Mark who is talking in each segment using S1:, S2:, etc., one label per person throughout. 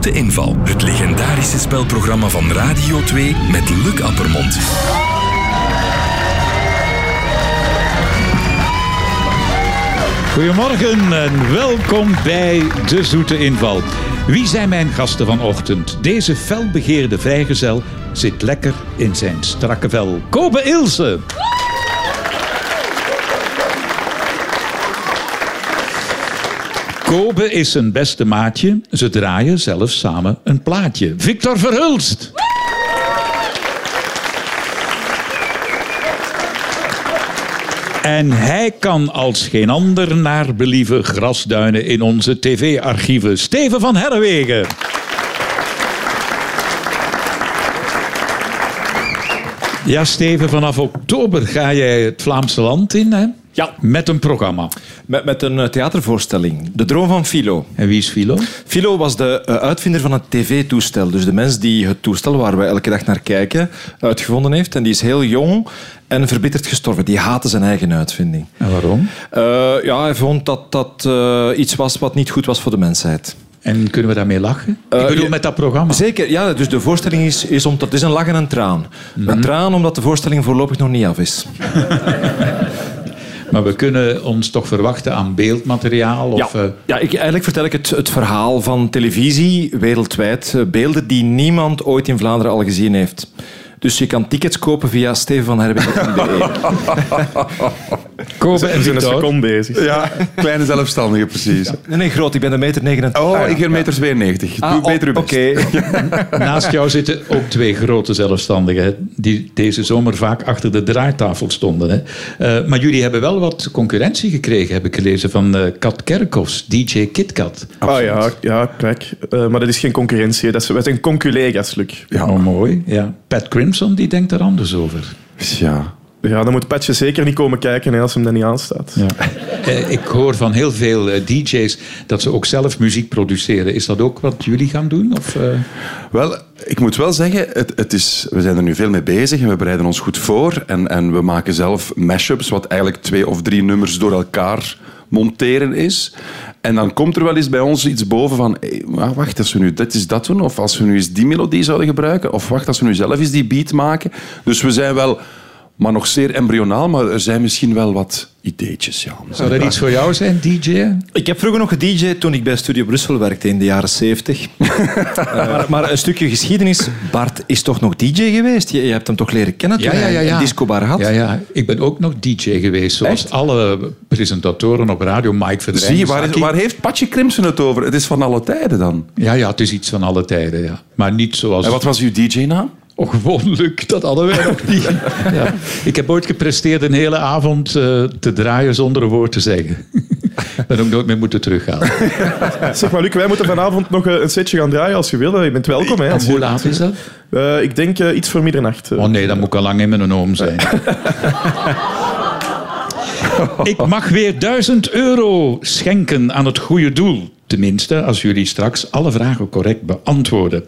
S1: de inval. Het legendarische spelprogramma van Radio 2 met Luc Appermond.
S2: Goedemorgen en welkom bij De Zoete Inval. Wie zijn mijn gasten vanochtend? Deze felbegeerde vrijgezel zit lekker in zijn strakke vel. Kobe Ilse. Kobe is zijn beste maatje. Ze draaien zelfs samen een plaatje. Victor Verhulst. En hij kan als geen ander naar believen grasduinen in onze tv-archieven. Steven van Herrewegen. Ja, Steven, vanaf oktober ga jij het Vlaamse land in, hè?
S3: Ja.
S2: Met een programma.
S3: Met, met een eh, theatervoorstelling. De droom van Philo.
S2: En wie is Philo?
S3: Philo was de eh, uitvinder van het tv-toestel. Dus de mens die het toestel waar wij elke dag naar kijken uitgevonden heeft. En die is heel jong en verbitterd gestorven. Die haatte zijn eigen uitvinding.
S2: En waarom?
S3: Eh, ja, hij vond dat dat eh, iets was wat niet goed was voor de mensheid.
S2: En kunnen we daarmee lachen? Ik bedoel,
S3: Eh, je-
S2: met dat programma.
S3: Zeker, ja. Dus de voorstelling is, is om, dat is een lach en een traan. Een traan omdat de voorstelling voorlopig nog niet af is.
S2: Maar we kunnen ons toch verwachten aan beeldmateriaal? Of,
S3: ja,
S2: eh,
S3: ja ik, eigenlijk vertel ik het, het verhaal van televisie wereldwijd. Eh, Beelden die niemand ooit in Vlaanderen al gezien heeft. Dus je kan tickets kopen via stevenvanherwegen.be.
S2: Kobe en
S4: We zijn een
S2: Victor.
S4: seconde bezig.
S5: Ja, kleine zelfstandige, precies.
S3: Nee, nee, groot. Ik ben een meter 89.
S5: Oh, ik ben meter 92.
S2: Ah.
S5: Doe beter uw best.
S3: Oké.
S2: Naast jou zitten ook twee grote zelfstandigen. hè, Die deze zomer vaak achter de draaitafel stonden. Hè. Eh, maar jullie hebben wel wat concurrentie gekregen, heb ik gelezen, van eh, Kat Kerkhoffs, DJ KitKat.
S5: Oh,
S4: Ah ja, ja kijk. Eh, maar dat is geen concurrentie. hè. Dat is, wij zijn conculega's, Luc.
S2: Ja. Oh, mooi. Ja. Pat Crimson, die denkt daar anders over.
S5: Dus Ja.
S4: Ja, dan moet Patje zeker niet komen kijken hè, als hem dat niet aanstaat.
S2: Eh, ik hoor van heel veel eh, DJ's dat ze ook zelf muziek produceren. Is dat ook wat jullie gaan doen? Of, eh?
S5: Wel, ik moet wel zeggen, het, het is, we zijn er nu veel mee bezig en we bereiden ons goed voor. En, en we maken zelf mashups, wat eigenlijk twee of drie nummers door elkaar monteren is. En dan komt er wel eens bij ons iets boven van, hé, wa- wacht, als we nu dit is dat doen, of als we nu eens die melodie zouden gebruiken, of wacht, als we nu zelf eens die beat maken. Dus we zijn wel, maar nog zeer embryonaal, maar er zijn misschien wel wat ideetjes, ja.
S2: Zou dat iets voor jou zijn, DJ?
S3: Ik heb vroeger nog gedj toen ik bij Studio Brussel werkte in de jaren 70. Eh, maar, maar een stukje geschiedenis. Bart is toch nog DJ geweest? Je, je hebt hem toch leren kennen toen hij een discobar had?
S2: Ja, ja. Ik ben ook nog DJ geweest, zoals alle presentatoren op radio. Mike Verdrijn.
S5: Zie je, waar, waar heeft Patje Crimson het over? Het is van alle tijden dan.
S2: Ja, ja, het is iets van alle tijden, ja. Maar niet zoals...
S5: En wat was uw DJ-naam?
S2: Oh, gewoon Luc, dat hadden wij nog niet. ja. Ik heb ooit gepresteerd een hele avond eh, te draaien zonder een woord te zeggen. Ik ben ook nooit meer moeten terughalen.
S4: Eh, Zeg maar, Luc, wij moeten vanavond nog eh, een setje gaan draaien als je wil. Je bent welkom. Hè,
S2: En
S4: als je-
S2: hoe laat is dat?
S4: Eh, ik denk eh, iets voor middernacht. eh.
S2: Oh nee, dan moet ik al lang in mijn oom zijn. ik mag weer 1000 euro schenken aan het goede doel. Tenminste, als jullie straks alle vragen correct beantwoorden.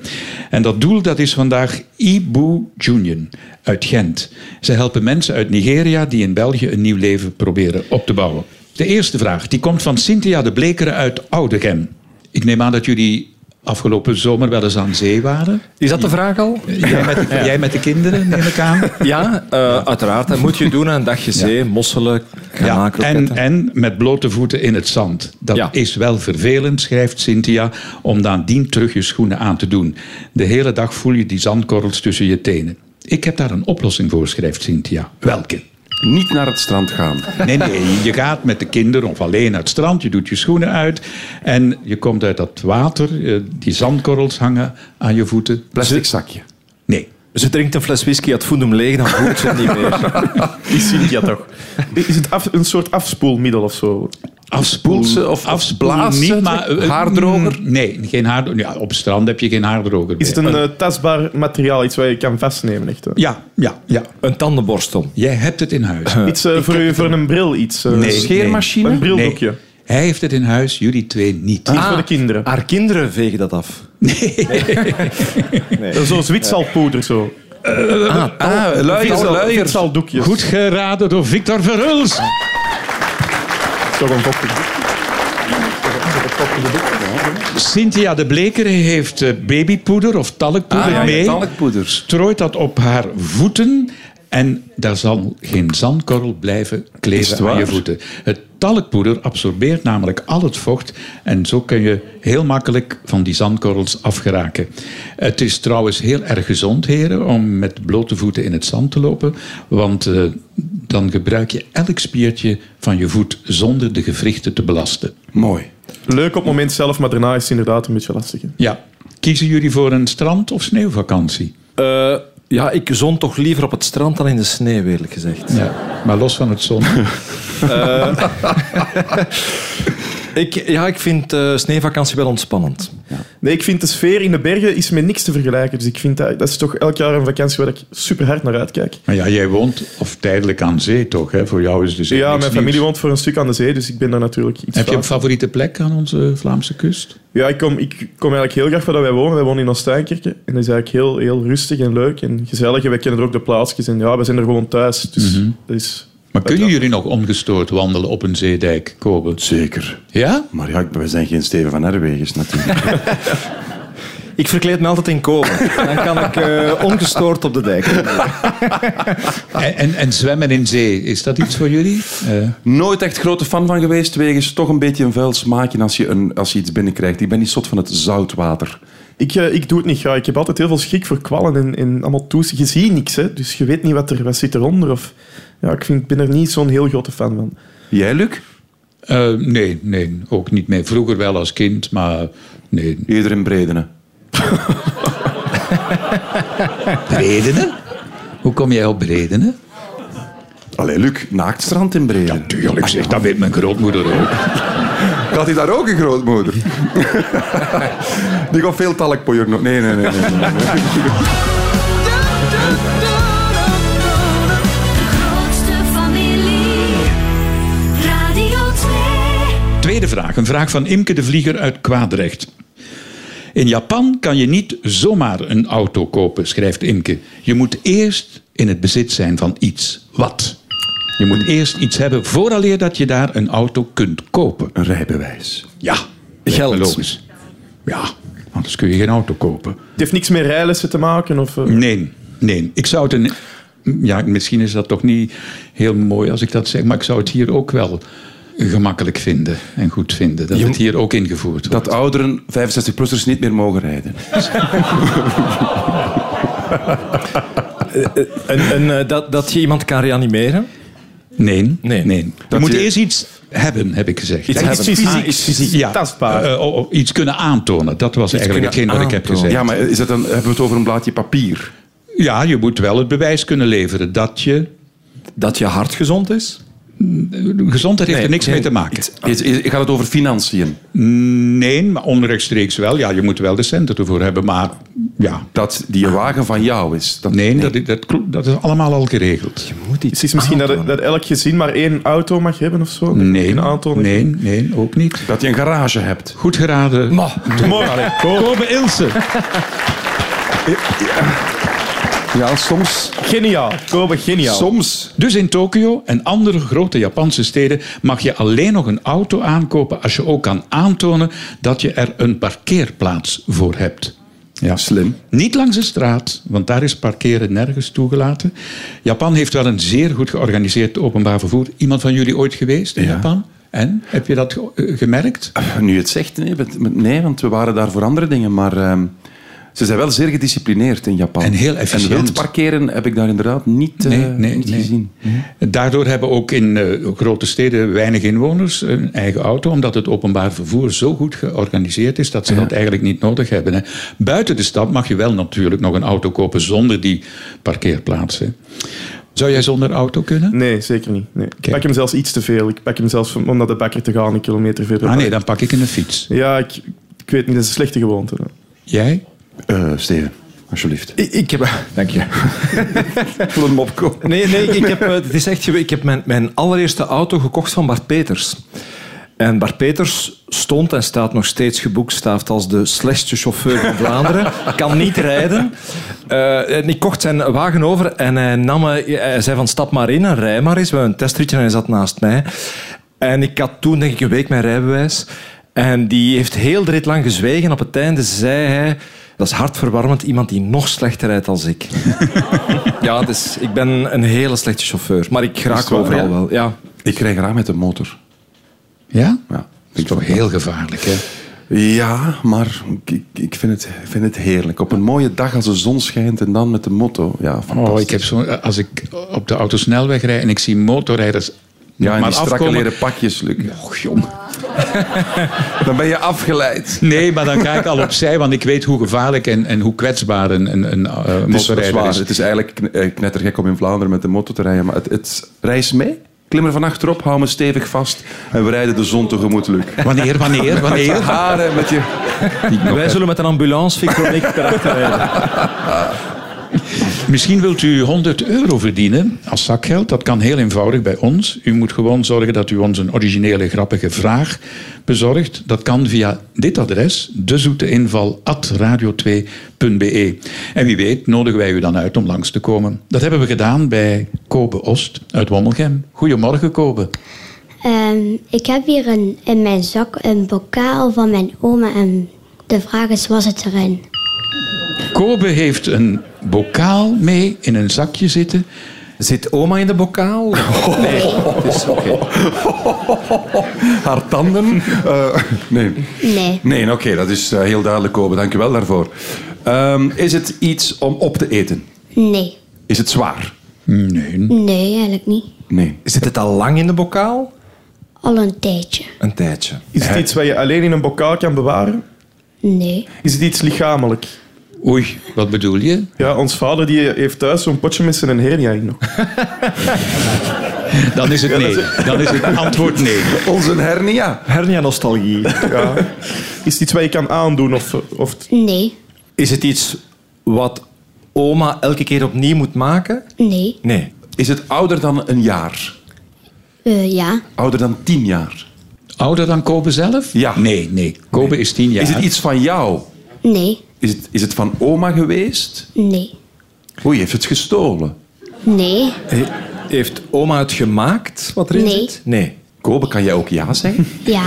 S2: En dat doel dat is vandaag Ibu Junior uit Gent. Ze helpen mensen uit Nigeria die in België een nieuw leven proberen op te bouwen. De eerste vraag die komt van Cynthia de Blekeren uit Oudegem. Ik neem aan dat jullie afgelopen zomer wel eens aan zee waren.
S3: Is dat de vraag al?
S2: Jij met, de- jij met de kinderen, neem ik aan.
S3: Ja, eh, uiteraard. Dat moet je doen aan een dagje zee, mosselen,
S2: Ja, en,
S3: garnaalkroketten.
S2: en met blote voeten in het zand. Dat
S3: Ja.
S2: is wel vervelend, schrijft Cynthia, om nadien terug je schoenen aan te doen. De hele dag voel je die zandkorrels tussen je tenen. Ik heb daar een oplossing voor, schrijft Cynthia. Welke?
S5: Niet naar het strand gaan.
S2: Nee, nee, je gaat met de kinderen of alleen naar het strand, je doet je schoenen uit en je komt uit dat water, eh, die zandkorrels hangen aan je voeten.
S5: Plastic zakje.
S2: Nee.
S3: Ze drinkt een fles whisky, het voelt hem leeg, dan voelt ze het niet meer.
S4: Die Cynthia toch. Is het af- een soort afspoelmiddel of zo?
S2: Afspoelen
S5: Poelsen of
S2: afspoelen
S5: blazen,
S2: niet, maar... eh, eh,
S5: haardroger?
S2: Nee, geen haardroger. Ja, op het strand heb je geen haardroger.
S4: Is het
S2: bij.
S4: een eh, tastbaar materiaal? Iets waar je kan vastnemen, echt? hè?
S2: Ja, ja, ja.
S3: Een tandenborstel.
S2: Jij hebt het in huis.
S4: Iets eh, voor, u- voor een bril, iets. eh,
S2: Nee,
S5: scheermachine?
S4: Een
S2: nee.
S4: brildoekje.
S2: Hij heeft het in huis, jullie twee niet.
S4: Iets voor de kinderen.
S3: Haar kinderen vegen dat af.
S4: Eh, Zo'n zwitsalpoeder zo.
S3: Ah,
S5: Ah, luier,
S4: Zwitsal-
S5: luier.
S4: Zwitsaldoekjes.
S2: Goed geraden door Victor Verhuls.
S4: Toch een bochtje.
S2: Cynthia de Bleker heeft eh, babypoeder of talkpoeder
S5: Ah, ja,
S2: mee.
S5: talkpoeder.
S2: Strooit dat op haar voeten. En daar zal geen zandkorrel blijven
S5: Is het
S2: kleven aan je
S5: waar?
S2: voeten. Het talkpoeder absorbeert namelijk al het vocht. En zo kun je heel makkelijk van die zandkorrels afgeraken. Het is trouwens heel erg gezond, heren, om met blote voeten in het zand te lopen. Want eh, dan gebruik je elk spiertje van je voet zonder de gewrichten te belasten.
S5: Mooi.
S4: Leuk op het moment zelf, maar daarna is het inderdaad een beetje lastig. hè.
S2: Ja. Kiezen jullie voor een strand- of sneeuwvakantie?
S3: Eh, ja, ik zon toch liever op het strand dan in de sneeuw, eerlijk gezegd.
S2: Ja. Maar los van het zon.
S3: Ik, ja, ik vind eh sneeuwvakantie wel ontspannend.
S4: Nee, ik vind de sfeer in de bergen is met niks te vergelijken. Dus ik vind dat, dat is toch elk jaar een vakantie waar ik super hard naar uitkijk.
S2: Maar ja, jij woont of tijdelijk aan zee toch? Hè? Voor jou is dus
S4: ja, mijn familie
S2: woont.
S4: woont voor een stuk aan de zee, dus ik ben daar natuurlijk iets
S2: Heb je een
S4: vaker.
S2: favoriete plek aan onze Vlaamse kust?
S4: Ja, ik kom, ik kom eigenlijk heel graag waar dat wij wonen. Wij wonen in Oostuinkerken. En dat is eigenlijk heel, heel rustig en leuk en gezellig. En wij kennen er ook de plaatsjes. En ja, we zijn er gewoon thuis. Dus
S2: Mhm.
S4: dat is...
S2: Maar kunnen jullie nog ongestoord wandelen op een zeedijk, Kobe?
S5: Zeker.
S2: Ja?
S5: Maar ja, ik- we zijn geen Steven van Herwegens natuurlijk.
S3: Ik verkleed me altijd in Kopen. Dan kan ik eh, ongestoord op de dijk.
S2: En, en, en zwemmen in zee, is dat iets voor jullie? Eh,
S5: Nooit echt grote fan van geweest, wegens toch een beetje een vuil smaakje als je, een, als je iets binnenkrijgt. Ik ben niet zot van het zoutwater.
S4: Ik, eh, ik doe het niet graag. Ik heb altijd heel veel schrik voor kwallen en, en allemaal toes. Je ziet niks, hè. Dus je weet niet wat, er, wat zit eronder. Of, ja, ik, vind, ik ben er niet zo'n heel grote fan van.
S5: Jij, Luc?
S2: eh, nee, nee, ook niet meer. Vroeger wel als kind, maar nee.
S5: Eerder in Bredene.
S2: Redenen? Hoe kom jij op redenen?
S5: Allee, Luc, naaktstrand in Bredene.
S2: Tuurlijk zeg, dat weet mijn grootmoeder ook.
S5: Had hij daar ook een grootmoeder? Die gaf veel talkpoeier nog. Nee, nee, nee. nee, nee, nee.
S6: De grootste familie. Radio 2.
S2: Tweede vraag, een vraag van Imke de Vlieger uit Kwaadrecht. In Japan kan je niet zomaar een auto kopen, schrijft Imke. Je moet eerst in het bezit zijn van iets. Wat? Je moet eerst iets hebben vooraleer dat je daar een auto kunt kopen.
S5: Een rijbewijs.
S2: Ja,
S3: Geld.
S2: Logisch. Ja, anders kun je geen auto kopen.
S4: Het heeft niks met rijlessen te maken. Of, eh,
S2: Nee, nee. Ik zou het een. Ja, misschien is dat toch niet heel mooi als ik dat zeg, maar ik zou het hier ook wel gemakkelijk vinden en goed vinden. Dat het hier ook ingevoerd wordt.
S5: Dat ouderen 65-plussers niet meer mogen rijden.
S3: En, en eh, dat, dat je iemand kan reanimeren.
S2: Nee.
S3: Nee.
S2: Je moet
S5: je-
S2: eerst iets hebben, heb ik gezegd.
S3: Iets
S4: iets
S3: hebben.
S4: fysiek.
S3: Ah, iets fysiek.
S2: Ja,
S4: tastbaar.
S2: eh, oh, oh, iets kunnen aantonen. Dat was eigenlijk hetgeen
S3: kunnen
S2: wat ik heb
S3: aantonen.
S2: gezegd.
S5: Ja,
S2: Ja.
S5: maar is dat dan, hebben we het over een blaadje papier?
S2: je moet wel het bewijs kunnen leveren dat je... Mm,
S3: Dat je hart gezond is.
S2: Gezondheid heeft
S3: Nee,
S2: er niks
S3: nee,
S2: mee te maken.
S5: Is, is- gaat het over financiën?
S2: Nee, maar onrechtstreeks wel. Ja, je moet wel de centen ervoor hebben, maar... Ja,
S5: Dat die wagen van jou is? Dat,
S2: nee, dat, dat, klopt, dat is allemaal al geregeld.
S3: Moet
S4: het is misschien dat, dat elk gezin maar één auto mag hebben of zo.
S2: Nee,
S4: Een auto.
S2: nee, nee, ook niet.
S5: dat je een garage hebt.
S2: Goed geraden.
S4: Mooi.
S2: Kobe Ilse.
S5: Ja, soms.
S4: Geniaal. Kobe, geniaal.
S5: Soms.
S2: Dus in Tokio en andere grote Japanse steden mag je alleen nog een auto aankopen als je ook kan aantonen dat je er een parkeerplaats voor hebt. Ja.
S5: Slim.
S2: Niet langs de straat, want daar is parkeren nergens toegelaten. Japan heeft wel een zeer goed georganiseerd openbaar vervoer. Iemand van jullie ooit geweest in
S5: Ja.
S2: Japan? En heb je dat ge- eh, gemerkt?
S5: Nu je het zegt, nee, want- nee, want we waren daar voor andere dingen. Maar ehm, ze zijn wel zeer gedisciplineerd in Japan.
S2: En heel efficiënt.
S5: En wild parkeren heb ik daar inderdaad niet, eh, niet gezien.
S2: Mhm. Daardoor hebben ook in eh, grote steden weinig inwoners een eigen auto, omdat het openbaar vervoer zo goed georganiseerd is dat ze dat eigenlijk niet nodig hebben. Hè. Buiten de stad mag je wel natuurlijk nog een auto kopen zonder die parkeerplaats. Hè. Zou jij zonder auto kunnen?
S4: Nee, zeker niet. Nee. Ik pak hem zelfs iets te veel. Ik pak hem zelfs om naar de bakker te gaan, een kilometer verder.
S2: Ah nee, dan pak ik een fiets.
S4: Ja, ik, ik weet niet, dat is een slechte gewoonte.
S2: Jij?
S5: Eh, Steven, alsjeblieft.
S3: Ik, ik heb... Dank je.
S5: Ik voel hem opkomen.
S3: Nee, nee ik, heb, eh, het is echt, gewe- ik heb mijn, mijn allereerste auto gekocht van Bart Peters. En Bart Peters stond en staat nog steeds geboekstaafd als de slechtste chauffeur van Vlaanderen. Kan niet rijden. Eh, en ik kocht zijn wagen over en hij, nam, me- hij zei van stap maar in en rij maar eens. We hebben een testritje en hij zat naast mij. En ik had toen denk ik een week mijn rijbewijs. En die heeft heel de rit lang gezwegen. Op het einde zei hij... Dat is hartverwarmend, iemand die nog slechter rijdt dan ik. ja, dus ik ben een hele slechte chauffeur. Maar ik
S5: Is het
S3: raak
S5: waar,
S3: overal
S5: ja?
S3: wel. Ja.
S5: Ik krijg raar met de motor.
S2: Ja?
S5: Ja,
S2: Dat is toch heel gevaarlijk, hè?
S5: ja maar ik, ik vind, het, ik vind het heerlijk. Op een mooie dag als de zon schijnt en dan met de motto. Ja, fantastisch.
S2: Oh, ik heb zo, als ik op de autosnelweg rijd en ik zie motorrijders
S5: ja, en
S2: maar
S5: die strakke
S2: afkomen-
S5: leren pakjes, Luc.
S2: Och, jongen.
S5: Dan ben je afgeleid.
S2: Nee, maar dan ga ik al opzij, want ik weet hoe gevaarlijk en, en hoe kwetsbaar een, een, een eh,
S5: Het is, dat is
S2: motorrijder
S5: waar.
S2: is.
S5: Het is eigenlijk kn- eh, knettergek om in Vlaanderen met de motor te rijden. Maar het, het reis mee. Klim er van achterop, hou me stevig vast. En we rijden de zon tegemoet, Luc.
S2: Wanneer, wanneer,
S5: Je
S2: wanneer?
S5: haren met je...
S3: Wij zullen met een ambulance, Victor en ik, erachter rijden.
S2: Misschien wilt u 100 euro verdienen als zakgeld. Dat kan heel eenvoudig bij ons. U moet gewoon zorgen dat u ons een originele, grappige vraag bezorgt. Dat kan via dit adres, dezoeteinval.radio2.be. En wie weet nodigen wij u dan uit om langs te komen. Dat hebben we gedaan bij Kobe Ost uit Wommelgem. Goedemorgen, Kobe.
S7: Ehm, ik heb hier een, in mijn zak een bokaal van mijn oma en de vraag is, was het erin?
S2: Kobe heeft een bokaal mee in een zakje zitten.
S3: Zit oma in de bokaal? Nee, het is oké.
S5: Haar tanden. Eh, nee.
S7: Nee.
S5: Nee, oké, dat is eh, heel duidelijk, Kobe. Dank je wel daarvoor. Ehm, is het iets om op te eten?
S7: Nee.
S5: Is het zwaar?
S2: Nee,
S7: Nee, eigenlijk niet.
S5: Nee.
S3: Zit het al lang in de bokaal?
S7: Al een tijdje.
S3: Een tijdje.
S4: Is het iets wat je alleen in een bokaal kan bewaren?
S7: Nee.
S4: Is het iets lichamelijk?
S2: Oei, wat bedoel je?
S4: Ja, ons vader die heeft thuis zo'n potje met zijn hernia in nog.
S2: Dan is het nee. Dan is het antwoord nee.
S5: Onze hernia.
S3: Hernia-nostalgie.
S4: Ja. Is het iets wat je kan aandoen? Of, of...
S7: Nee.
S3: Is het iets wat oma elke keer opnieuw moet maken?
S7: Nee.
S3: Nee.
S5: Is het ouder dan een jaar?
S7: Eh, ja.
S5: Ouder dan tien jaar?
S2: Ouder dan Kobe zelf?
S5: Ja.
S2: Nee, nee. Kobe is tien jaar.
S5: Is het iets van jou?
S7: Nee.
S5: Is het, is het van oma geweest?
S7: Nee.
S5: Oei, heeft het gestolen?
S7: Nee.
S3: He- heeft oma het gemaakt, wat erin
S7: Nee.
S3: zit? Nee.
S5: Kobe, kan jij ook ja zeggen?
S7: Ja.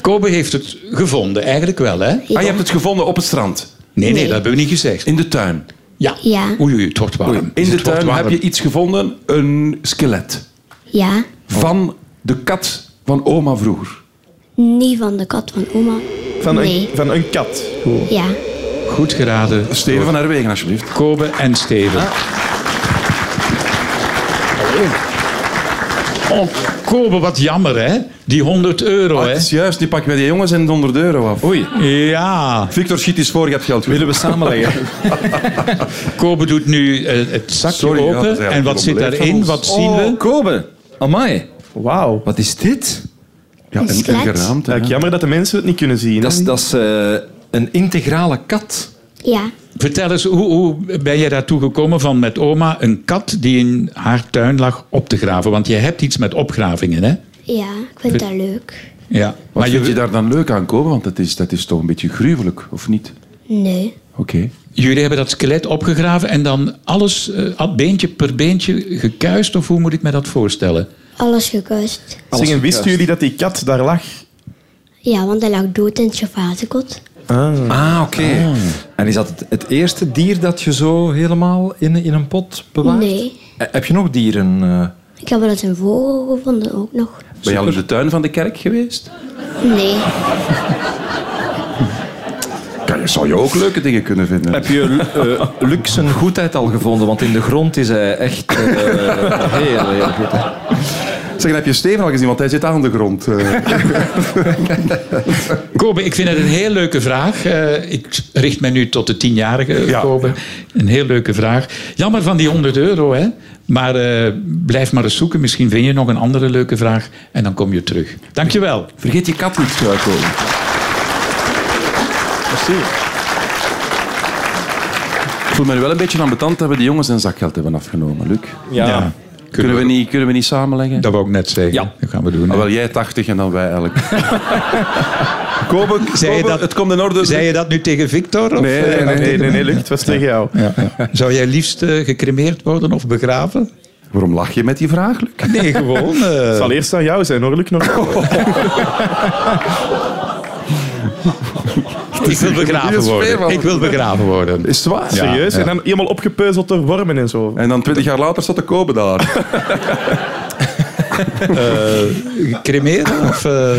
S2: Kobe heeft het gevonden, eigenlijk wel, hè?
S5: Ah, je hebt het gevonden op het strand.
S2: Nee, nee,
S7: Nee.
S2: dat hebben we niet gezegd.
S5: In de tuin.
S2: Ja.
S7: Ja.
S2: Oei, oei, het wordt warm. Dus
S5: In
S2: Het
S5: de
S2: wordt
S5: tuin
S2: warm.
S5: heb je iets gevonden. Een skelet.
S7: Ja.
S5: Van de kat van oma vroeger.
S7: Niet van de kat van oma.
S4: Van,
S7: Nee.
S4: een, van een kat.
S7: Ja.
S2: Goed geraden.
S5: Steven Ah. van Herwegen, alsjeblieft.
S2: Kobe en Steven. Oh, Kobe, wat jammer, hè? Die 100 euro,
S5: Ah,
S2: hè?
S5: het is juist, die pakken wij die jongens en de 100 euro af.
S3: Oei,
S2: Ja.
S5: Victor, schiet eens voor, je hebt geld.
S3: willen we samenleggen?
S2: Kobe doet nu eh, het zakje
S5: Sorry, ja, dat is
S2: open.
S5: eigenlijk
S2: en wat zit
S5: onbeleefd van
S2: daarin?
S5: ons.
S2: Wat zien
S3: Oh,
S2: we?
S3: Kobe. Amai.
S4: Wauw.
S3: Wat is dit?
S5: Ja, en, en
S7: skelet.
S5: geraamd. hè.
S4: Ja, ik jammer dat de mensen het niet kunnen zien.
S3: Dat
S4: hè.
S3: is, dat is eh, een integrale kat.
S7: Ja.
S2: Vertel eens, hoe, hoe ben je daartoe gekomen van met oma een kat die in haar tuin lag op te graven? Want je hebt iets met opgravingen, hè?
S7: Ja. Ik vind dat leuk.
S2: Ja.
S5: Wat
S2: maar
S5: vind je
S2: je,
S5: daar dan leuk aan komen? Want dat is, dat is toch een beetje gruwelijk, of niet?
S7: Nee.
S5: Oké.
S2: jullie hebben dat skelet opgegraven en dan alles eh, al- beentje per beentje gekuist? Of hoe moet ik me dat voorstellen?
S7: Alles gekust.
S4: Zeg, en
S3: Alles
S4: wisten jullie dat die kat daar lag?
S7: Ja, want hij lag dood in het chauffeurskot.
S3: Ah, oké. En is dat het, het eerste dier dat je zo helemaal in, in een pot bewaart?
S7: Nee.
S3: Eh, Heb je nog dieren? eh?
S7: Ik heb wel eens een vogel gevonden ook nog.
S5: Ben je al in de tuin van de kerk geweest?
S7: Nee.
S5: Kan je, zou je ook leuke dingen kunnen vinden.
S3: Heb je eh Luc zijn goedheid al gevonden? Want in de grond is hij echt eh, heel, heel goed. hè.
S5: Zeg, heb je Steven al gezien? Want hij zit aan de grond. Eh,
S2: Kobe, ik vind het een heel leuke vraag. Eh, ik richt mij nu tot de tienjarige,
S5: Ja.
S2: Kobe. Een heel leuke vraag. Jammer van die 100 euro, hè? Maar eh, blijf maar eens zoeken. Misschien vind je nog een andere leuke vraag en dan kom je terug. Dankjewel.
S5: vergeet je kat niet te komen. Ik voel me nu wel een beetje ambetant dat we die jongens hun zakgeld hebben afgenomen, Luc.
S4: Ja.
S5: Kunnen we niet, kunnen we niet samenleggen?
S2: Dat wou ik net zeggen.
S3: Ja.
S2: Dat gaan we doen.
S5: Ah, wel, jij 80 en dan wij elk. Kobe,
S2: Zei je
S5: Kobe,
S2: dat-
S5: het komt in orde.
S2: Zei je dat nu tegen Victor? Of,
S5: Nee,
S2: eh,
S5: nee,
S4: Nee, nee, nee, Luc, het was tegen jou.
S2: ja, ja. Zou jij liefst eh, gecremeerd worden of begraven?
S5: Waarom lach je met die vraag, Luc?
S2: Nee, gewoon. eh,
S4: Het zal eerst aan jou zijn, hoor, Luc. Nog.
S5: Oh,
S2: ik wil begraven worden. Ik wil begraven worden.
S5: Is het waar?
S4: Serieus? En dan helemaal opgepeuzeld door wormen en zo.
S5: En dan twintig jaar later zat de Kobe daar.
S2: Cremeren? Of, eh,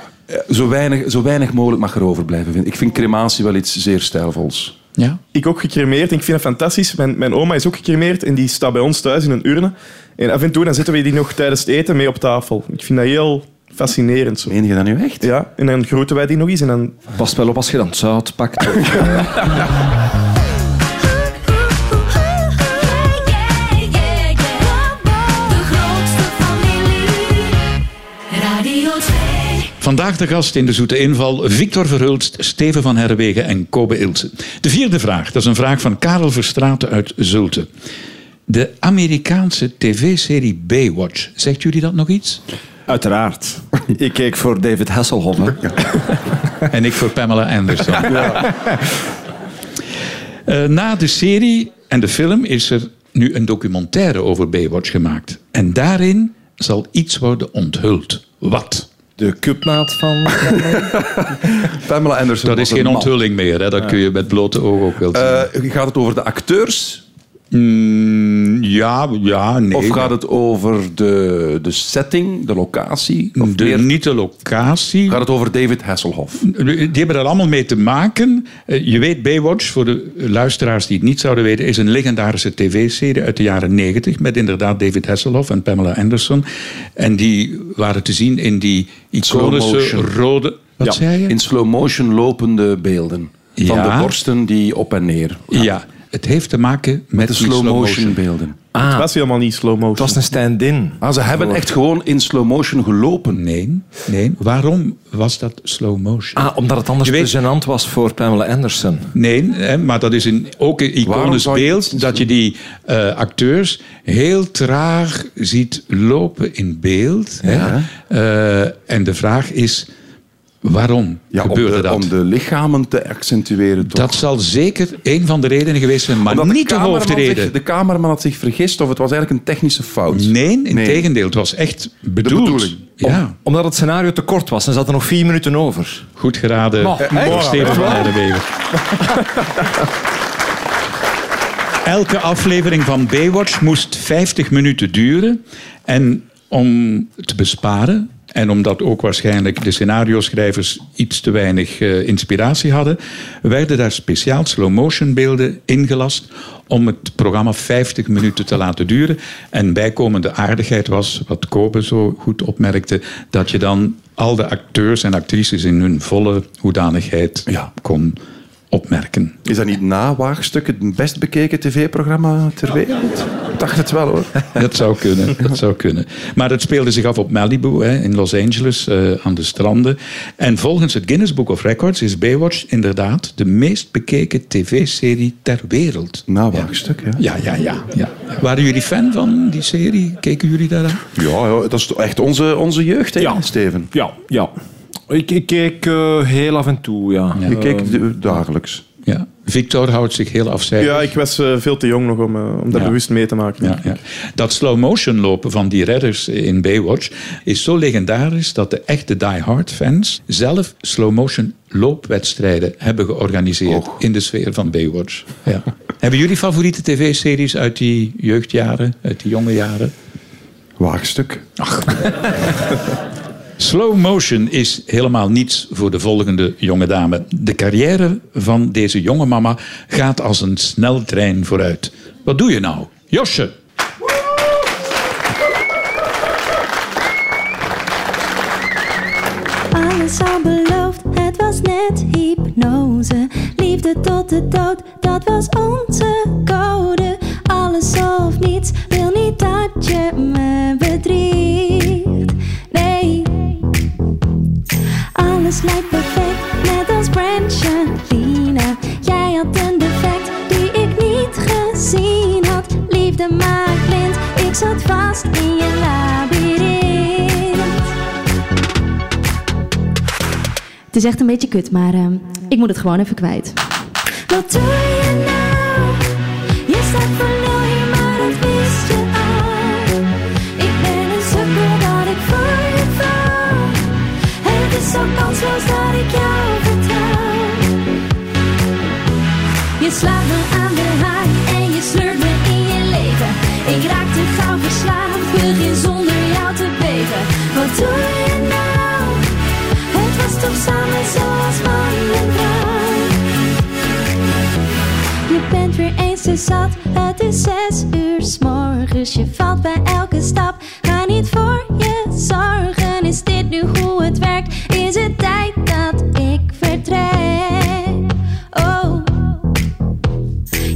S5: zo, weinig, zo weinig mogelijk mag er overblijven. Vind. ik. Ik vind crematie wel iets zeer stijlvols.
S2: ja.
S4: Ik ook gecremeerd en ik vind dat fantastisch. Mijn, mijn oma is ook gecremeerd en die staat bij ons thuis in een urne. En af en toe dan zetten we die nog tijdens het eten mee op tafel. Ik vind dat heel fascinerend. Zo.
S5: Meen je dat nu echt?
S4: Ja, en dan groeten wij die nog eens en dan
S3: Pas wel op als je dan zout pakt.
S6: De grootste familie. Radio 2.
S2: Vandaag de gast in de Zoete Inval, Victor Verhulst, Steven van Herwegen en Kobe Ilse. De vierde vraag, dat is een vraag van Karel Verstraeten uit Zulte. De Amerikaanse tv-serie Baywatch, zegt jullie dat nog iets?
S3: Uiteraard. Ik keek voor David Hasselhoff. hè.
S2: En ik voor Pamela Anderson. Eh, na de serie en de film is er nu een documentaire over Baywatch gemaakt. En daarin zal iets worden onthuld. Wat?
S3: De cupmaat van...
S5: Pamela Anderson.
S2: Dat is
S5: was een
S2: geen
S5: man.
S2: onthulling meer, hè? dat kun je met blote ogen ook wel zien.
S5: Eh, gaat het over de acteurs
S2: Mm, ja, ja, nee.
S5: of gaat het over de, de setting, de locatie? Of
S2: de,
S5: meer-
S2: niet de locatie.
S5: gaat het over David Hasselhoff?
S2: Die hebben daar allemaal mee te maken. Eh, Je weet, Baywatch, voor de luisteraars die het niet zouden weten, is een legendarische tv-serie uit de jaren 90 met inderdaad David Hasselhoff en Pamela Anderson. En die waren te zien in die iconische
S5: motion.
S2: rode. Wat
S5: Ja,
S2: zei je?
S5: In slow motion lopende beelden. Van
S2: Ja.
S5: de borsten die op en neer.
S2: Ja, het heeft te maken met,
S5: De
S2: die
S5: slow motion beelden.
S4: het was helemaal niet slow motion.
S3: Het was een stand-in.
S5: Ah, ze hebben echt gewoon in slow motion gelopen.
S2: Nee, nee. Waarom was dat slow motion?
S3: Ah, omdat het anders
S2: Je weet-
S3: te gênant was voor Pamela Anderson.
S2: Nee, hè, maar dat is een, ook een
S5: Waarom
S2: iconisch
S5: zou je-
S2: beeld dat je die eh, acteurs heel traag ziet lopen in beeld. Hè? Eh, en de vraag is, waarom
S5: Ja, om
S2: gebeurde
S5: de,
S2: dat?
S5: om de lichamen te accentueren. Toch?
S2: Dat zal zeker een van de redenen geweest zijn, maar
S5: Omdat
S2: niet de,
S5: cameraman
S2: hoofdreden.
S5: zich- de cameraman had zich vergist of het was eigenlijk een technische fout.
S2: Nee, in
S5: Nee.
S2: tegendeel. Het was echt bedoeld.
S5: bedoeling.
S2: Ja,
S3: Omdat het scenario te kort was en ze hadden nog vier minuten over.
S2: goed geraden.
S3: Oh,
S2: door
S3: echt?
S2: Steven van Herdenwegen. Elke aflevering van Baywatch moest 50 minuten duren. En om te besparen, en omdat ook waarschijnlijk de scenario-schrijvers iets te weinig eh, inspiratie hadden, werden daar speciaal slow-motion beelden ingelast om het programma 50 minuten te laten duren. En bijkomende aardigheid was, wat Kobe zo goed opmerkte, dat je dan al de acteurs en actrices in hun volle hoedanigheid
S5: Ja.
S2: kon opmerken.
S5: Is dat niet na Waagstuk het best bekeken tv-programma ter wereld? Ik dacht het wel hoor.
S2: Dat zou kunnen, dat zou kunnen. Maar het speelde zich af op Malibu, hè, in Los Angeles, eh, aan de stranden. En volgens het Guinness Book of Records is Baywatch inderdaad de meest bekeken tv-serie ter wereld.
S5: Na Waagstuk, ja.
S2: Ja, ja, ja, ja. Waren jullie fan van die serie? Keken jullie daar aan?
S5: Ja, ja, dat is toch echt onze, onze jeugd, hè,
S3: Ja.
S5: Steven?
S3: Ja, ja. Ik, ik keek eh, heel af en toe, ja.
S5: Je keek
S2: Ehm.
S5: de- dagelijks.
S2: Ja. Victor houdt zich heel afzijdig.
S4: Ja, ik was eh, veel te jong nog om, eh, om dat
S2: Ja.
S4: bewust mee te maken.
S2: Ja, ja. Dat slow motion lopen van die redders in Baywatch is zo legendarisch dat de echte Die Hard fans zelf slow motion loopwedstrijden hebben georganiseerd
S5: Och.
S2: in de sfeer van Baywatch. Ja. hebben jullie favoriete tv-series uit die jeugdjaren, uit die jonge jaren?
S5: Waagstuk.
S2: Slow motion is helemaal niets voor de volgende jonge dame. De carrière van deze jonge mama gaat als een sneltrein vooruit. Wat doe je nou? Josje,
S8: Alles al beloofd, het was net hypnose. Liefde tot de dood, dat was onze code. Alles of niets, wil niet dat je me bedriegt. Nee. Alles lijkt perfect, net als Brangelina. Jij had een defect die ik niet gezien had. Liefde maakt blind, ik zat vast in je labyrint. Het is echt een beetje kut, maar eh, ik moet het gewoon even kwijt. Wat doe je nou? Je staat voor nul hier, maar dat wist je al. zo kansloos dat ik jou vertrouw. Je slaat me aan de haak en je sleurt me in je leven. Ik raak te gauw verslaafd, begin zonder jou te beven. Wat doe je nou? Het was toch samen zoals man en vrouw. Je bent weer eens te zat, het is zes uur s morgens. Je valt bij elke stap, ga niet voor je zorgen. Is dit nu hoe het werkt? Is het tijd dat ik vertrek? Oh,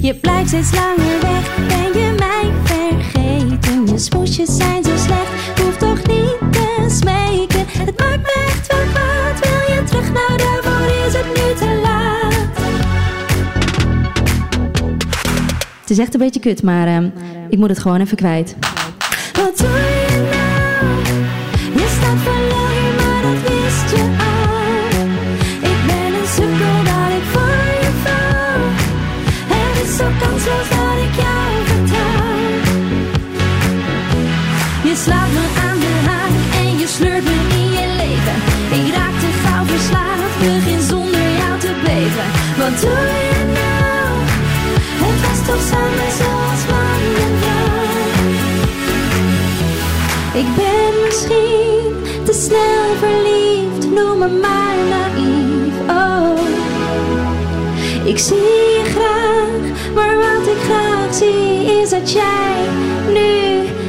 S8: je blijft steeds langer weg, ben je mij vergeten? Je smoesjes zijn zo slecht, ik hoef toch niet te smeken. Het maakt me echt wel kwaad, wil je terug? Nou, daarvoor is het nu te laat. Het is echt een beetje kut, maar, ehm, ik moet het gewoon even kwijt. Wat doe je nou? Je staat verloren, maar dat wist je al. Ik ben een sukkel dat ik voor je val. Het is zo kansloos dat ik jou vertrouw. Je slaat me aan de haak en je sleurt me in je leven. Ik raak te gauw verslaafd, begin zonder jou te beven. Wat doe je nou? Het was toch samen zoals man en vrouw. Ik ben misschien te snel verliefd, noem me maar naïef. Oh. Ik zie je graag, maar wat ik graag zie is dat jij nu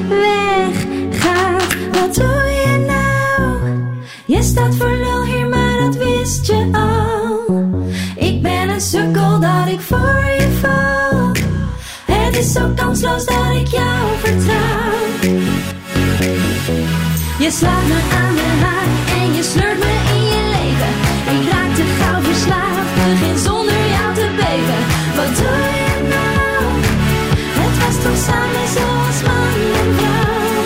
S8: weggaat. Wat doe je nou? Je staat voor lul hier, maar dat wist je al. Ik ben een sukkel dat ik voor je val. Het is zo kansloos dat ik jou vertrouw. Je slaat me aan de haak en je sleurt me in je leven. Ik raak te gauw verslaafd, begin zonder jou te beven. Wat doe je nou? Het was toch samen zoals man en vrouw.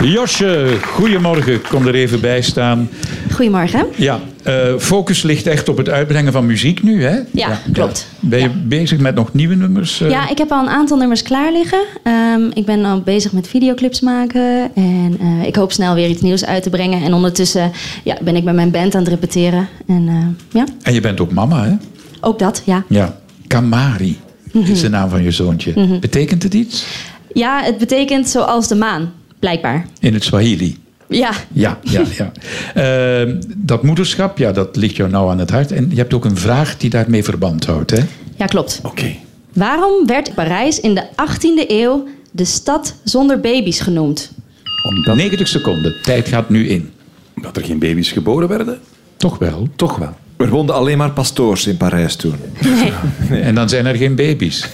S2: Josje, goedemorgen. Kom er even bij staan.
S9: Goedemorgen.
S2: Ja, eh, focus ligt echt op het uitbrengen van muziek nu, hè? Ja,
S9: klopt.
S2: Ben je bezig met nog nieuwe nummers? eh?
S9: Ja, ik heb al een aantal nummers klaar liggen. Ehm, ik ben al bezig met videoclips maken. En eh, ik hoop snel weer iets nieuws uit te brengen. En ondertussen ja, ben ik met mijn band aan het repeteren. En eh, ja,
S2: En je bent ook mama, hè?
S9: ook dat, ja.
S2: Ja. Kamari is de naam van je zoontje. Betekent het iets?
S9: Ja, het betekent zoals de maan, blijkbaar.
S2: In het Swahili.
S9: Ja,
S2: Ja, ja, ja. Ehm, dat moederschap, ja, dat ligt jou nou aan het hart. En je hebt ook een vraag die daarmee verband houdt, hè?
S9: ja klopt.
S5: Oké.
S9: Waarom werd Parijs in de 18e eeuw de stad zonder baby's genoemd?
S2: Omdat... 90 seconden. Tijd gaat nu in.
S5: Dat er geen baby's geboren werden?
S2: Toch wel.
S3: Toch wel. Er woonden alleen maar pastoors in Parijs toen.
S2: En dan zijn er geen baby's.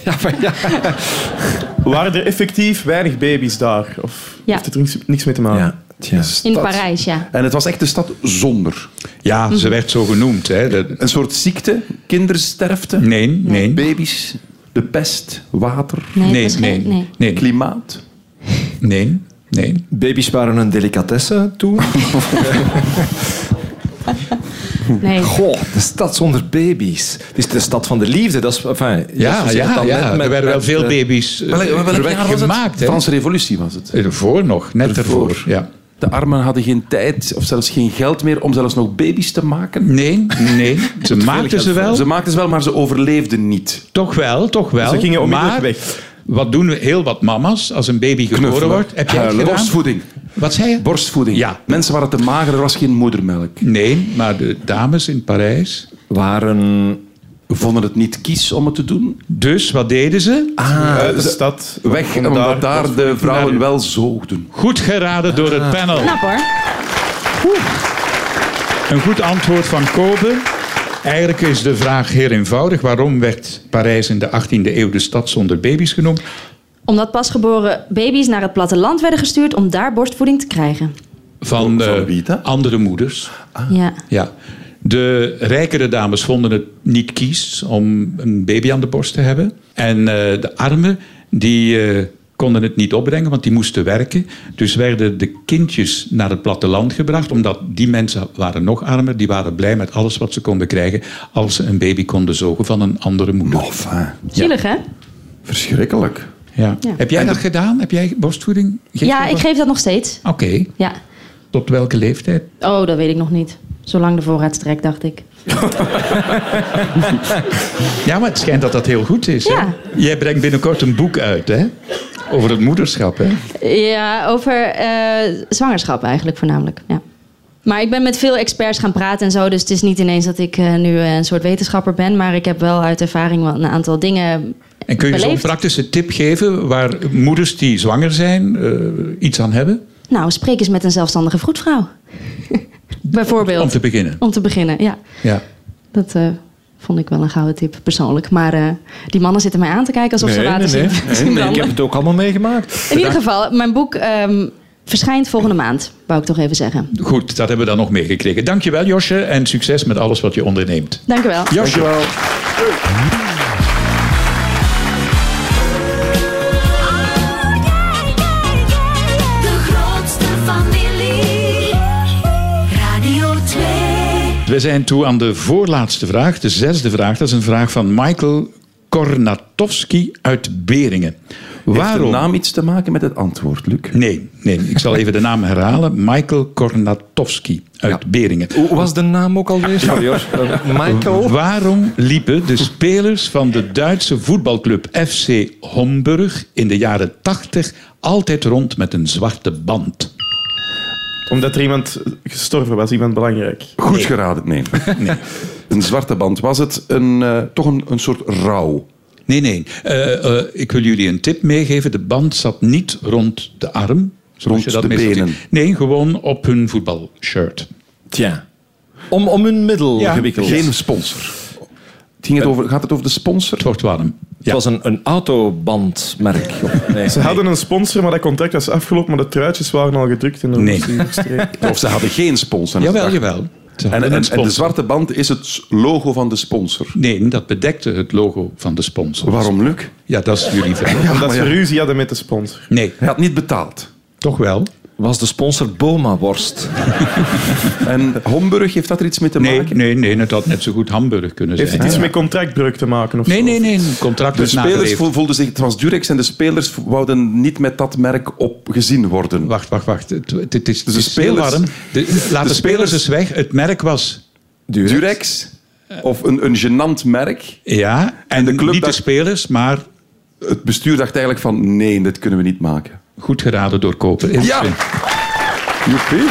S4: Waren er effectief weinig baby's daar? Of
S9: Ja.
S4: heeft het er niks, niks mee te maken?
S3: Ja. Ah, Dus Tja.
S9: In
S5: Stad.
S9: Parijs, ja.
S5: En het was echt de stad zonder.
S2: Ja, ze werd zo genoemd, hè? Dat-
S5: Een soort ziekte, kindersterfte,
S2: Nee, nee.
S5: baby's, de pest, water,
S9: Nee, het
S2: Nee,
S9: was
S2: nee,
S9: geen-
S2: nee, nee,
S5: klimaat.
S2: nee, nee.
S3: Baby's waren een delicatesse toen.
S9: nee.
S3: Goh, de stad zonder baby's. Het is de stad van de liefde. Dat is, enfin,
S2: Ja,
S3: je zegt
S2: ja,
S3: dan net
S2: ja.
S3: met-
S2: er werden wel
S3: met,
S2: veel
S3: eh,
S2: baby's eh,
S5: jaar was
S2: gemaakt,
S5: het?
S2: hè?
S5: Franse revolutie was het.
S2: Ervoor nog, net ervoor. Ja.
S5: De armen hadden geen tijd of zelfs geen geld meer om zelfs nog baby's te maken.
S2: Nee, nee. Ze maakten ze wel.
S5: Ze maakten ze wel, maar ze overleefden niet.
S2: Toch wel, toch wel.
S4: Ze gingen onmiddellijk
S2: maar
S4: weg.
S2: wat doen we heel wat mama's als een baby geboren
S5: Knuffelen,
S2: wordt? Heb jij het
S5: huilen,
S2: gedaan?
S5: borstvoeding.
S2: Wat zei je?
S5: Borstvoeding.
S2: Ja.
S5: Mensen waren te mager, er was geen moedermelk.
S2: Nee, maar de dames in Parijs.
S3: Waren
S5: Vonden het niet kies om het te doen?
S2: Dus wat deden ze?
S4: Uit de
S5: ze-
S4: stad.
S5: Weg,
S4: om
S5: omdat daar, de vrouwen
S4: naar-
S5: wel zoogden.
S2: Goed geraden door het panel.
S9: Knap hoor.
S2: Een goed antwoord van Kobe. Eigenlijk is de vraag heel eenvoudig. Waarom werd Parijs in de 18e eeuw de stad zonder baby's genoemd?
S9: Omdat pasgeboren baby's naar het platteland werden gestuurd om daar borstvoeding te krijgen.
S2: Van,
S5: Van
S2: eh,
S5: wie dan?
S2: andere moeders.
S9: Ja.
S2: Ja. De rijkere dames vonden het niet kies om een baby aan de borst te hebben. En eh, de armen, die eh, konden het niet opbrengen, want die moesten werken. Dus werden de kindjes naar het platteland gebracht, omdat die mensen waren nog armer. Die waren blij met alles wat ze konden krijgen als ze een baby konden zogen van een andere moeder.
S5: Enfin,
S9: Zielig hè?
S5: verschrikkelijk.
S2: Ja.
S9: Ja.
S2: Heb jij dat gedaan? Heb jij borstvoeding? Geef
S9: ja,
S2: je
S9: ik
S2: borst-
S9: geef dat nog steeds.
S2: Oké,
S9: Ja.
S2: tot welke leeftijd?
S9: Oh, dat weet ik nog niet. Zolang de voorraad strekt, dacht ik.
S2: Ja, maar het schijnt dat dat heel goed is. hè?
S9: Ja.
S2: Jij brengt binnenkort een boek uit, hè? Over het moederschap, hè?
S9: Ja, over eh, zwangerschap eigenlijk voornamelijk. Ja. Maar ik ben met veel experts gaan praten en zo. Dus het is niet ineens dat ik eh, nu eh, een soort wetenschapper ben. Maar ik heb wel uit ervaring wel een aantal dingen.
S2: En kun je zo'n
S9: Beleefd.
S2: praktische tip geven waar moeders die zwanger zijn eh, iets aan hebben?
S9: Nou, spreek eens met een zelfstandige vroedvrouw. Bijvoorbeeld.
S2: Om te beginnen.
S9: Om te beginnen, ja.
S2: Ja.
S9: Dat eh, vond ik wel een gouden tip, persoonlijk. Maar eh, die mannen zitten mij aan te kijken alsof ze
S3: Nee,
S9: water
S3: nee,
S9: zien.
S3: nee.
S9: zien
S3: Ik
S9: branden.
S3: heb het ook allemaal meegemaakt.
S9: In ieder geval, mijn boek ehm, verschijnt volgende maand, wou ik toch even zeggen.
S2: Goed, dat hebben we dan nog meegekregen. Dankjewel, Josje, en succes met alles wat je onderneemt.
S9: Dank u wel.
S2: Josje.
S6: De grootste familie. Radio 2.
S2: We zijn toe aan de voorlaatste vraag, de zesde vraag. Dat is een vraag van Michael Kornatowski uit Beringen.
S5: Heeft de
S2: Waarom?
S5: naam iets te maken met het antwoord, Luc?
S2: Nee, nee, ik zal even de naam herhalen. Michael Kornatowski uit Beringen.
S3: Hoe was de naam ook alweer? Sorry hoor. Eh, Michael.
S2: Waarom liepen de spelers van de Duitse voetbalclub FC Homburg in de jaren 80 altijd rond met een zwarte band?
S4: Omdat er iemand gestorven was, iemand belangrijk.
S5: Goed geraden, nee. Een zwarte band. Was het een, eh, toch een, een soort rouw?
S2: Nee, nee. Eh, eh, ik wil jullie een tip meegeven. De band zat niet rond de arm. zoals
S5: Rond de
S2: meestal
S5: benen.
S2: ziet. Nee, gewoon op hun voetbalshirt.
S3: Tja. Om, om hun middel gewikkeld.
S5: Geen sponsor. Het
S2: Eh.
S5: ging het over, gaat het over de sponsor?
S2: Het wordt warm.
S3: Het was een, een autobandmerk. Nee.
S4: Ze hadden een sponsor, maar dat contract was afgelopen, maar de truitjes waren al gedrukt. En
S2: Nee.
S5: Of ze hadden geen sponsor?
S2: Jawel,
S5: Dag.
S2: jawel. Ze hadden
S5: En, en,
S2: een
S5: en de
S2: sponsor.
S5: zwarte band is het logo van de sponsor.
S2: Nee, dat bedekte het logo van de sponsor.
S5: Waarom, Luc?
S2: Ja, dat is jullie vraag.
S4: Omdat
S5: maar
S4: ze
S5: ja.
S4: ruzie hadden met de sponsor.
S2: Nee,
S5: Hij had niet betaald.
S2: toch wel.
S3: Was de sponsor Boma-worst?
S5: En Homburg, heeft dat er iets mee te
S2: Nee,
S5: maken?
S2: nee, nee, het had net zo goed Hamburg kunnen zijn.
S4: Heeft het iets met contractbreuk te maken? Of
S2: Nee,
S4: zo?
S2: nee, nee. een Contract
S5: De
S2: is
S5: spelers
S2: nageleefd.
S5: vo- voelden zich, het was Durex en de spelers wouden niet met dat merk op gezien worden.
S2: Wacht, wacht, wacht. Het, het- het is, het
S5: de
S2: is heel
S5: spelers-
S2: warm. De- laat de,
S5: de
S2: spelers
S5: spelers-
S2: eens weg. Het merk was...
S5: Durex? Of een, een gênant merk.
S2: Ja, en,
S5: de club
S2: niet
S5: dacht-
S2: de spelers, maar
S5: Het bestuur dacht eigenlijk van nee, dat kunnen we niet maken.
S2: goed geraden door Koper.
S5: Ja! Joepie.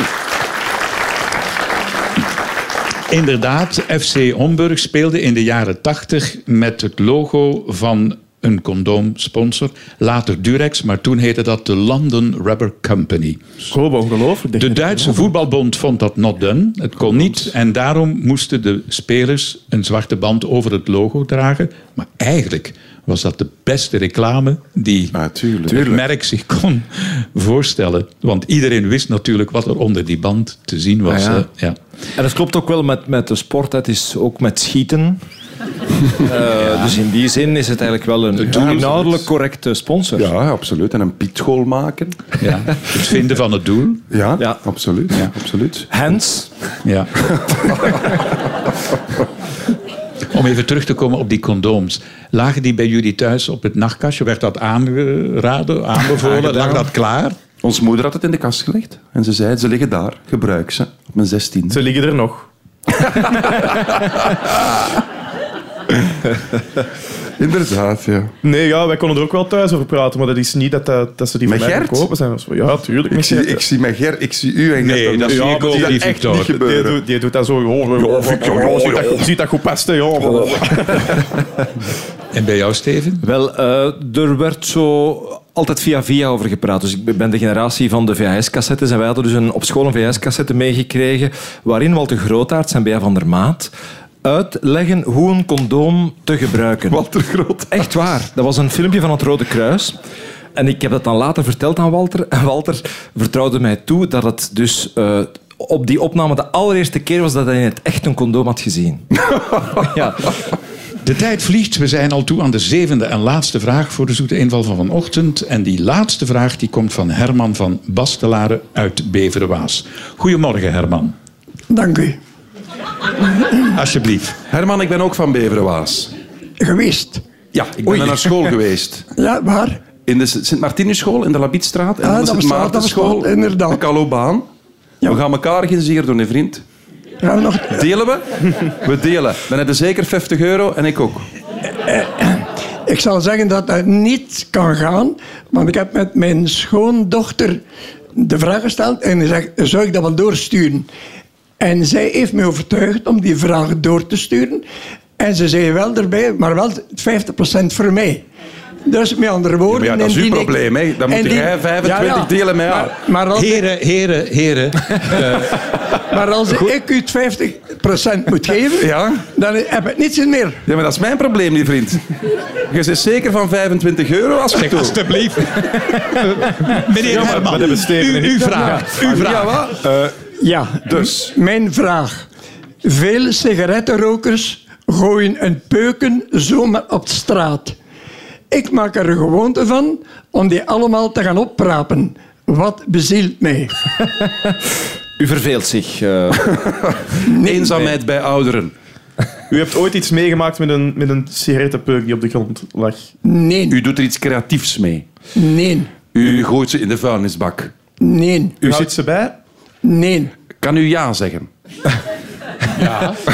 S2: Inderdaad, FC Homburg speelde in de jaren 80 met het logo van een condoomsponsor. Later Durex, maar toen heette dat de London Rubber Company.
S4: Goh, wat ongelooflijk.
S2: De Duitse voetbalbond vond dat not done. Het kon niet. En daarom moesten de spelers een zwarte band over het logo dragen. Maar eigenlijk was dat de beste reclame die
S5: Natuurlijk.
S2: het merk zich kon voorstellen. Want iedereen wist natuurlijk wat er onder die band te zien was.
S3: Ah ja.
S2: hè. Ja.
S3: En dat klopt ook wel met, met de sport. Het is ook met schieten. Eh, Dus in die zin is het eigenlijk wel een inhoudelijk correcte sponsor.
S5: Ja, absoluut. En een pietgoal maken.
S2: Ja. Het vinden van het doel.
S5: Ja,
S3: Ja.
S5: absoluut. absoluut.
S3: Hens,
S2: Ja. Om even terug te komen op die condooms. Lagen die bij jullie thuis op het nachtkastje? Werd dat aangeraden, aanbevolen? Lag dat klaar?
S5: Ons moeder had het in de kast gelegd. En ze zei, ze liggen daar. Gebruik ze. Op mijn zestiende.
S4: Ze liggen er nog.
S5: Inderdaad, ja.
S4: Nee, ja, wij konden er ook wel thuis over praten, maar dat is niet dat, dat, dat ze die
S5: Met
S4: van mij
S5: Gert?
S4: verkopen zijn. of zo. Ja, tuurlijk.
S5: Ik
S4: met
S5: zie,
S4: Gert.
S5: ik zie mijn Ger, ik zie u en
S2: Nee,
S5: Gert.
S2: dat zie
S5: Ja,
S2: ik
S5: maar
S2: ook
S5: die
S2: niet,
S5: dat echt
S2: Victor.
S5: niet
S4: Die
S5: gebeuren.
S4: doet, die doet dat zo. Oh, oh, oh,
S5: Victor,
S4: oh,
S5: oh,
S4: ziet dat-
S5: oh.
S4: Ziet dat goed pasten? Ja.
S2: En bij jou, Steven?
S3: Wel, eh, er werd zo altijd via via over gepraat. Dus ik ben de generatie van de VHS-cassettes. En wij hadden dus een, op school een VHS-cassette meegekregen waarin Walter Grootaerts en Bea van der Maat uitleggen hoe een condoom te gebruiken.
S5: Walter Groot.
S3: Echt waar. Dat was een filmpje van het Rode Kruis. En ik heb dat dan later verteld aan Walter. En Walter vertrouwde mij toe dat het dus eh, op die opname de allereerste keer was dat hij in het echt een condoom had gezien. ja.
S2: De tijd vliegt. We zijn al toe aan de zevende en laatste vraag voor de zoete inval van vanochtend. En die laatste vraag die komt van Herman van Bastelaren uit Beverwaas. Goedemorgen, Herman.
S10: Dank u.
S2: Alsjeblieft.
S5: Herman, ik ben ook van Beverenwaas.
S10: Geweest.
S5: Ja, ik ben
S10: Oei.
S5: naar school geweest.
S10: Ja, waar?
S5: in de Sint-Martinusschool in de Labietstraat. En
S10: Ah,
S5: dan
S10: dat
S5: de
S10: bestaat, dat
S5: Sint-Maartenschool,
S10: bestaat, inderdaad.
S5: de Calobaan. We gaan elkaar organiseren door een vriend.
S10: Gaan we nog...
S5: Delen we? We delen. Dan heb je zeker 50 euro en ik ook.
S10: Eh, Ik zal zeggen dat dat niet kan gaan, want ik heb met mijn schoondochter de vraag gesteld en die zegt, zou ik dat wel doorsturen? En zij heeft me overtuigd om die vraag door te sturen. En ze zei wel erbij, maar wel 50% voor mij. Dus met andere woorden...
S5: Ja, maar ja, dat is uw
S10: indien ik-
S5: probleem, hè. Dan moet
S10: indien-
S5: jij 25 delen met haar.
S10: Maar, maar als,
S2: Heren, heren, heren. Eh,
S10: maar als ik u het 50% moet geven,
S5: Ja.
S10: dan heb ik niets in meer.
S5: Ja, maar dat is mijn probleem, die vriend. Je zit zeker van 25 euro als ik
S2: Zeg,
S5: doe.
S2: alstublieft. Meneer
S4: maar-
S2: Herman,
S4: maar dat besteden we
S2: u,
S4: niet.
S2: uw vraag. Uw vraag.
S5: Ja, wat?
S10: Eh, Ja, dus. Mijn vraag. Veel sigarettenrokers gooien een peuken zomaar op de straat. Ik maak er een gewoonte van om die allemaal te gaan opprapen. Wat bezielt mij?
S3: U verveelt zich. eh.
S5: Eenzaamheid bij ouderen.
S4: U hebt ooit iets meegemaakt met een, met een sigarettenpeuk die op de grond lag.
S10: Nee,
S5: U doet er iets creatiefs mee.
S10: nee,
S5: U gooit ze in de vuilnisbak.
S10: nee,
S4: U zit ze bij?
S10: nee.
S5: Kan u ja zeggen?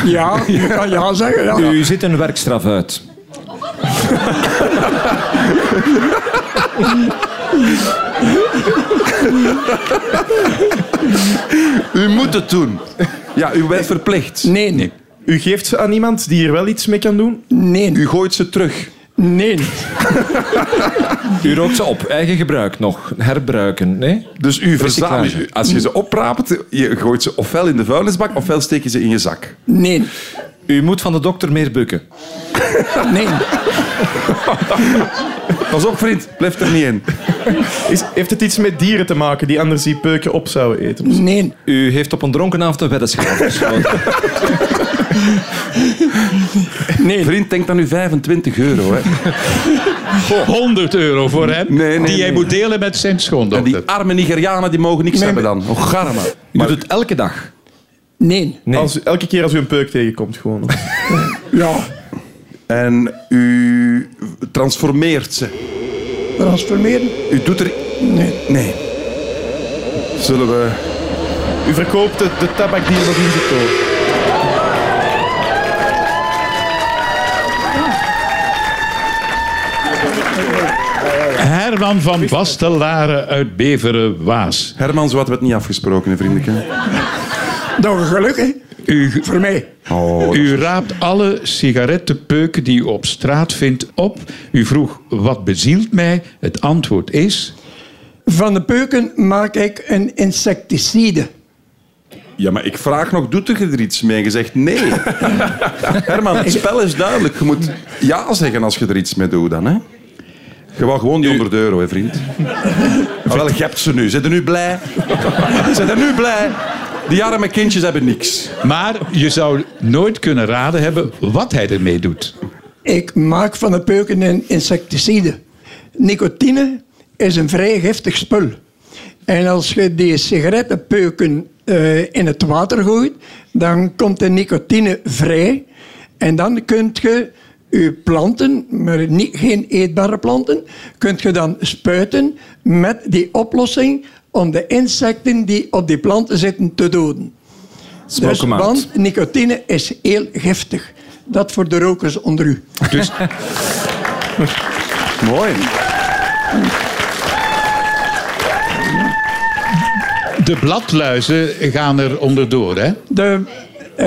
S10: Ja, je kan ja zeggen. Ja.
S3: U zit een werkstraf uit.
S5: U moet het doen. Ja, u bent verplicht.
S10: Nee, nee,
S4: U geeft ze aan iemand die er wel iets mee kan doen?
S10: nee,
S5: U gooit ze terug.
S10: nee.
S3: U rookt ze op, eigen gebruik nog, herbruiken. Nee?
S5: Dus u verzamelt.
S3: Recyclage.
S5: Als je ze opraapt, je gooit ze ofwel in de vuilnisbak, ofwel steek je ze in je zak.
S10: nee.
S3: U moet van de dokter meer bukken.
S10: nee.
S5: Pas op, vriend. Blijf er niet in.
S4: Is, heeft het iets met dieren te maken die anders die peuken op zouden eten?
S10: nee.
S3: U heeft op een dronkenavond een weddenschap gesloten.
S5: Vriend, denk aan uw 25 euro. Hè.
S2: 100 euro voor hem,
S5: Oh. Nee, nee,
S2: die
S5: nee.
S2: jij moet delen met zijn
S5: En
S2: schoondochter.
S5: die arme Nigerianen die mogen niks hebben dan. Oh, garma.
S3: U doet het elke dag.
S10: Nee.
S3: Nee.
S4: Als, elke keer als u een peuk tegenkomt, gewoon.
S10: Ja,
S5: En u transformeert ze.
S10: transformeren?
S5: U doet er...
S10: Nee.
S5: Nee. Zullen we...
S4: U verkoopt de, de tabak die er nog in zit. hoor.
S2: Herman van Bastelaren uit Beveren Waas.
S5: Herman, zo hadden we het niet afgesproken, hè, vriendelijke.
S10: Dat geluk, Nou, hè?
S2: U,
S10: Voor mij.
S5: Oh,
S2: u raapt alle sigarettenpeuken die u op straat vindt op. U vroeg, wat bezielt mij? Het antwoord is...
S10: Van de peuken maak ik een insecticide.
S5: Ja, maar ik vraag nog, doet er er iets mee? Je zegt nee. Herman, het spel is duidelijk. Je moet ja zeggen als je er iets mee doet dan, hè? Je wou gewoon die 100 euro, hè, vriend. Ah, wel, je hebt ze nu. Zijn er nu blij? Zijn er nu blij? Die arme kindjes hebben niks.
S2: Maar je zou nooit kunnen raden hebben wat hij ermee doet.
S10: Ik maak van de peuken een insecticide. Nicotine is een vrij giftig spul. En als je die sigarettenpeuken eh, in het water gooit, dan komt de nicotine vrij. En dan kunt je je planten, maar niet, geen eetbare planten, kunt je dan spuiten met die oplossing om de insecten die op die planten zitten te doden. Dus,
S3: hem uit.
S10: want nicotine is heel giftig. Dat voor de rokers onder u.
S2: Dus
S5: Mooi.
S2: de bladluizen gaan er onderdoor, hè?
S10: De, eh,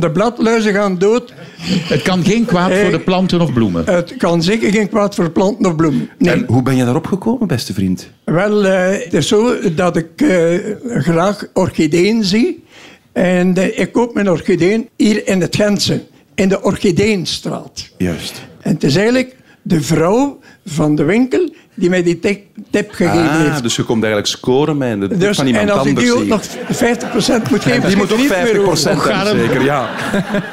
S10: de bladluizen gaan dood.
S2: Het kan geen kwaad voor de planten of bloemen.
S10: Het kan zeker geen kwaad voor planten of bloemen. Nee.
S5: En hoe ben je daarop gekomen, beste vriend?
S10: Wel, eh, het is zo dat ik eh, graag orchideeën zie. En eh, ik koop mijn orchideeën hier in het Gentse, in de Orchideenstraat.
S5: Juist.
S10: En het is eigenlijk de vrouw van de winkel die mij die tip, tip gegeven
S5: Ah,
S10: heeft.
S5: dus je komt eigenlijk scoren met de tip
S10: Dus,
S5: van iemand
S10: en als ik
S5: anders.
S10: die ook
S5: hier.
S10: nog 50% moet geven,
S5: Die
S10: schiet
S5: moet ook
S10: er
S5: 50%
S10: niet meer over.
S5: hebben,
S2: Gaarne.
S5: zeker. Ja.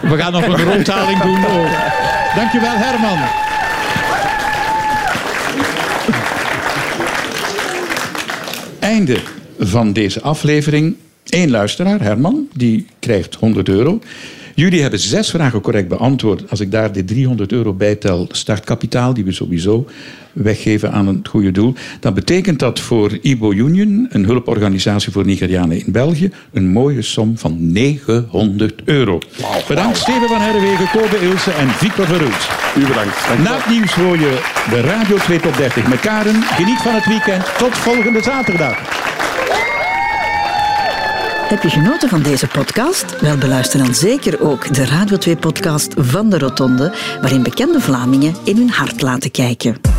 S2: We gaan nog een rondhaling doen. over- Dankjewel, Herman. Einde van deze aflevering. Eén luisteraar, Herman, die krijgt 100 euro. Jullie hebben zes vragen correct beantwoord. Als ik daar de 300 euro bij tel, startkapitaal, die we sowieso weggeven aan een goede doel, dan betekent dat voor Ibo Union, een hulporganisatie voor Nigerianen in België, een mooie som van 900 euro. Bedankt Steven van Herwegen, Kobe Ilse en Victor Verhoes.
S5: U bedankt. Dank u
S2: Na
S5: wel.
S2: het nieuws hoor je de Radio 2 tot 30 met Karen. Geniet van het weekend. Tot volgende zaterdag.
S11: Heb je genoten van deze podcast? Wel, beluister dan zeker ook de Radio 2-podcast van de Rotonde, waarin bekende Vlamingen in hun hart laten kijken.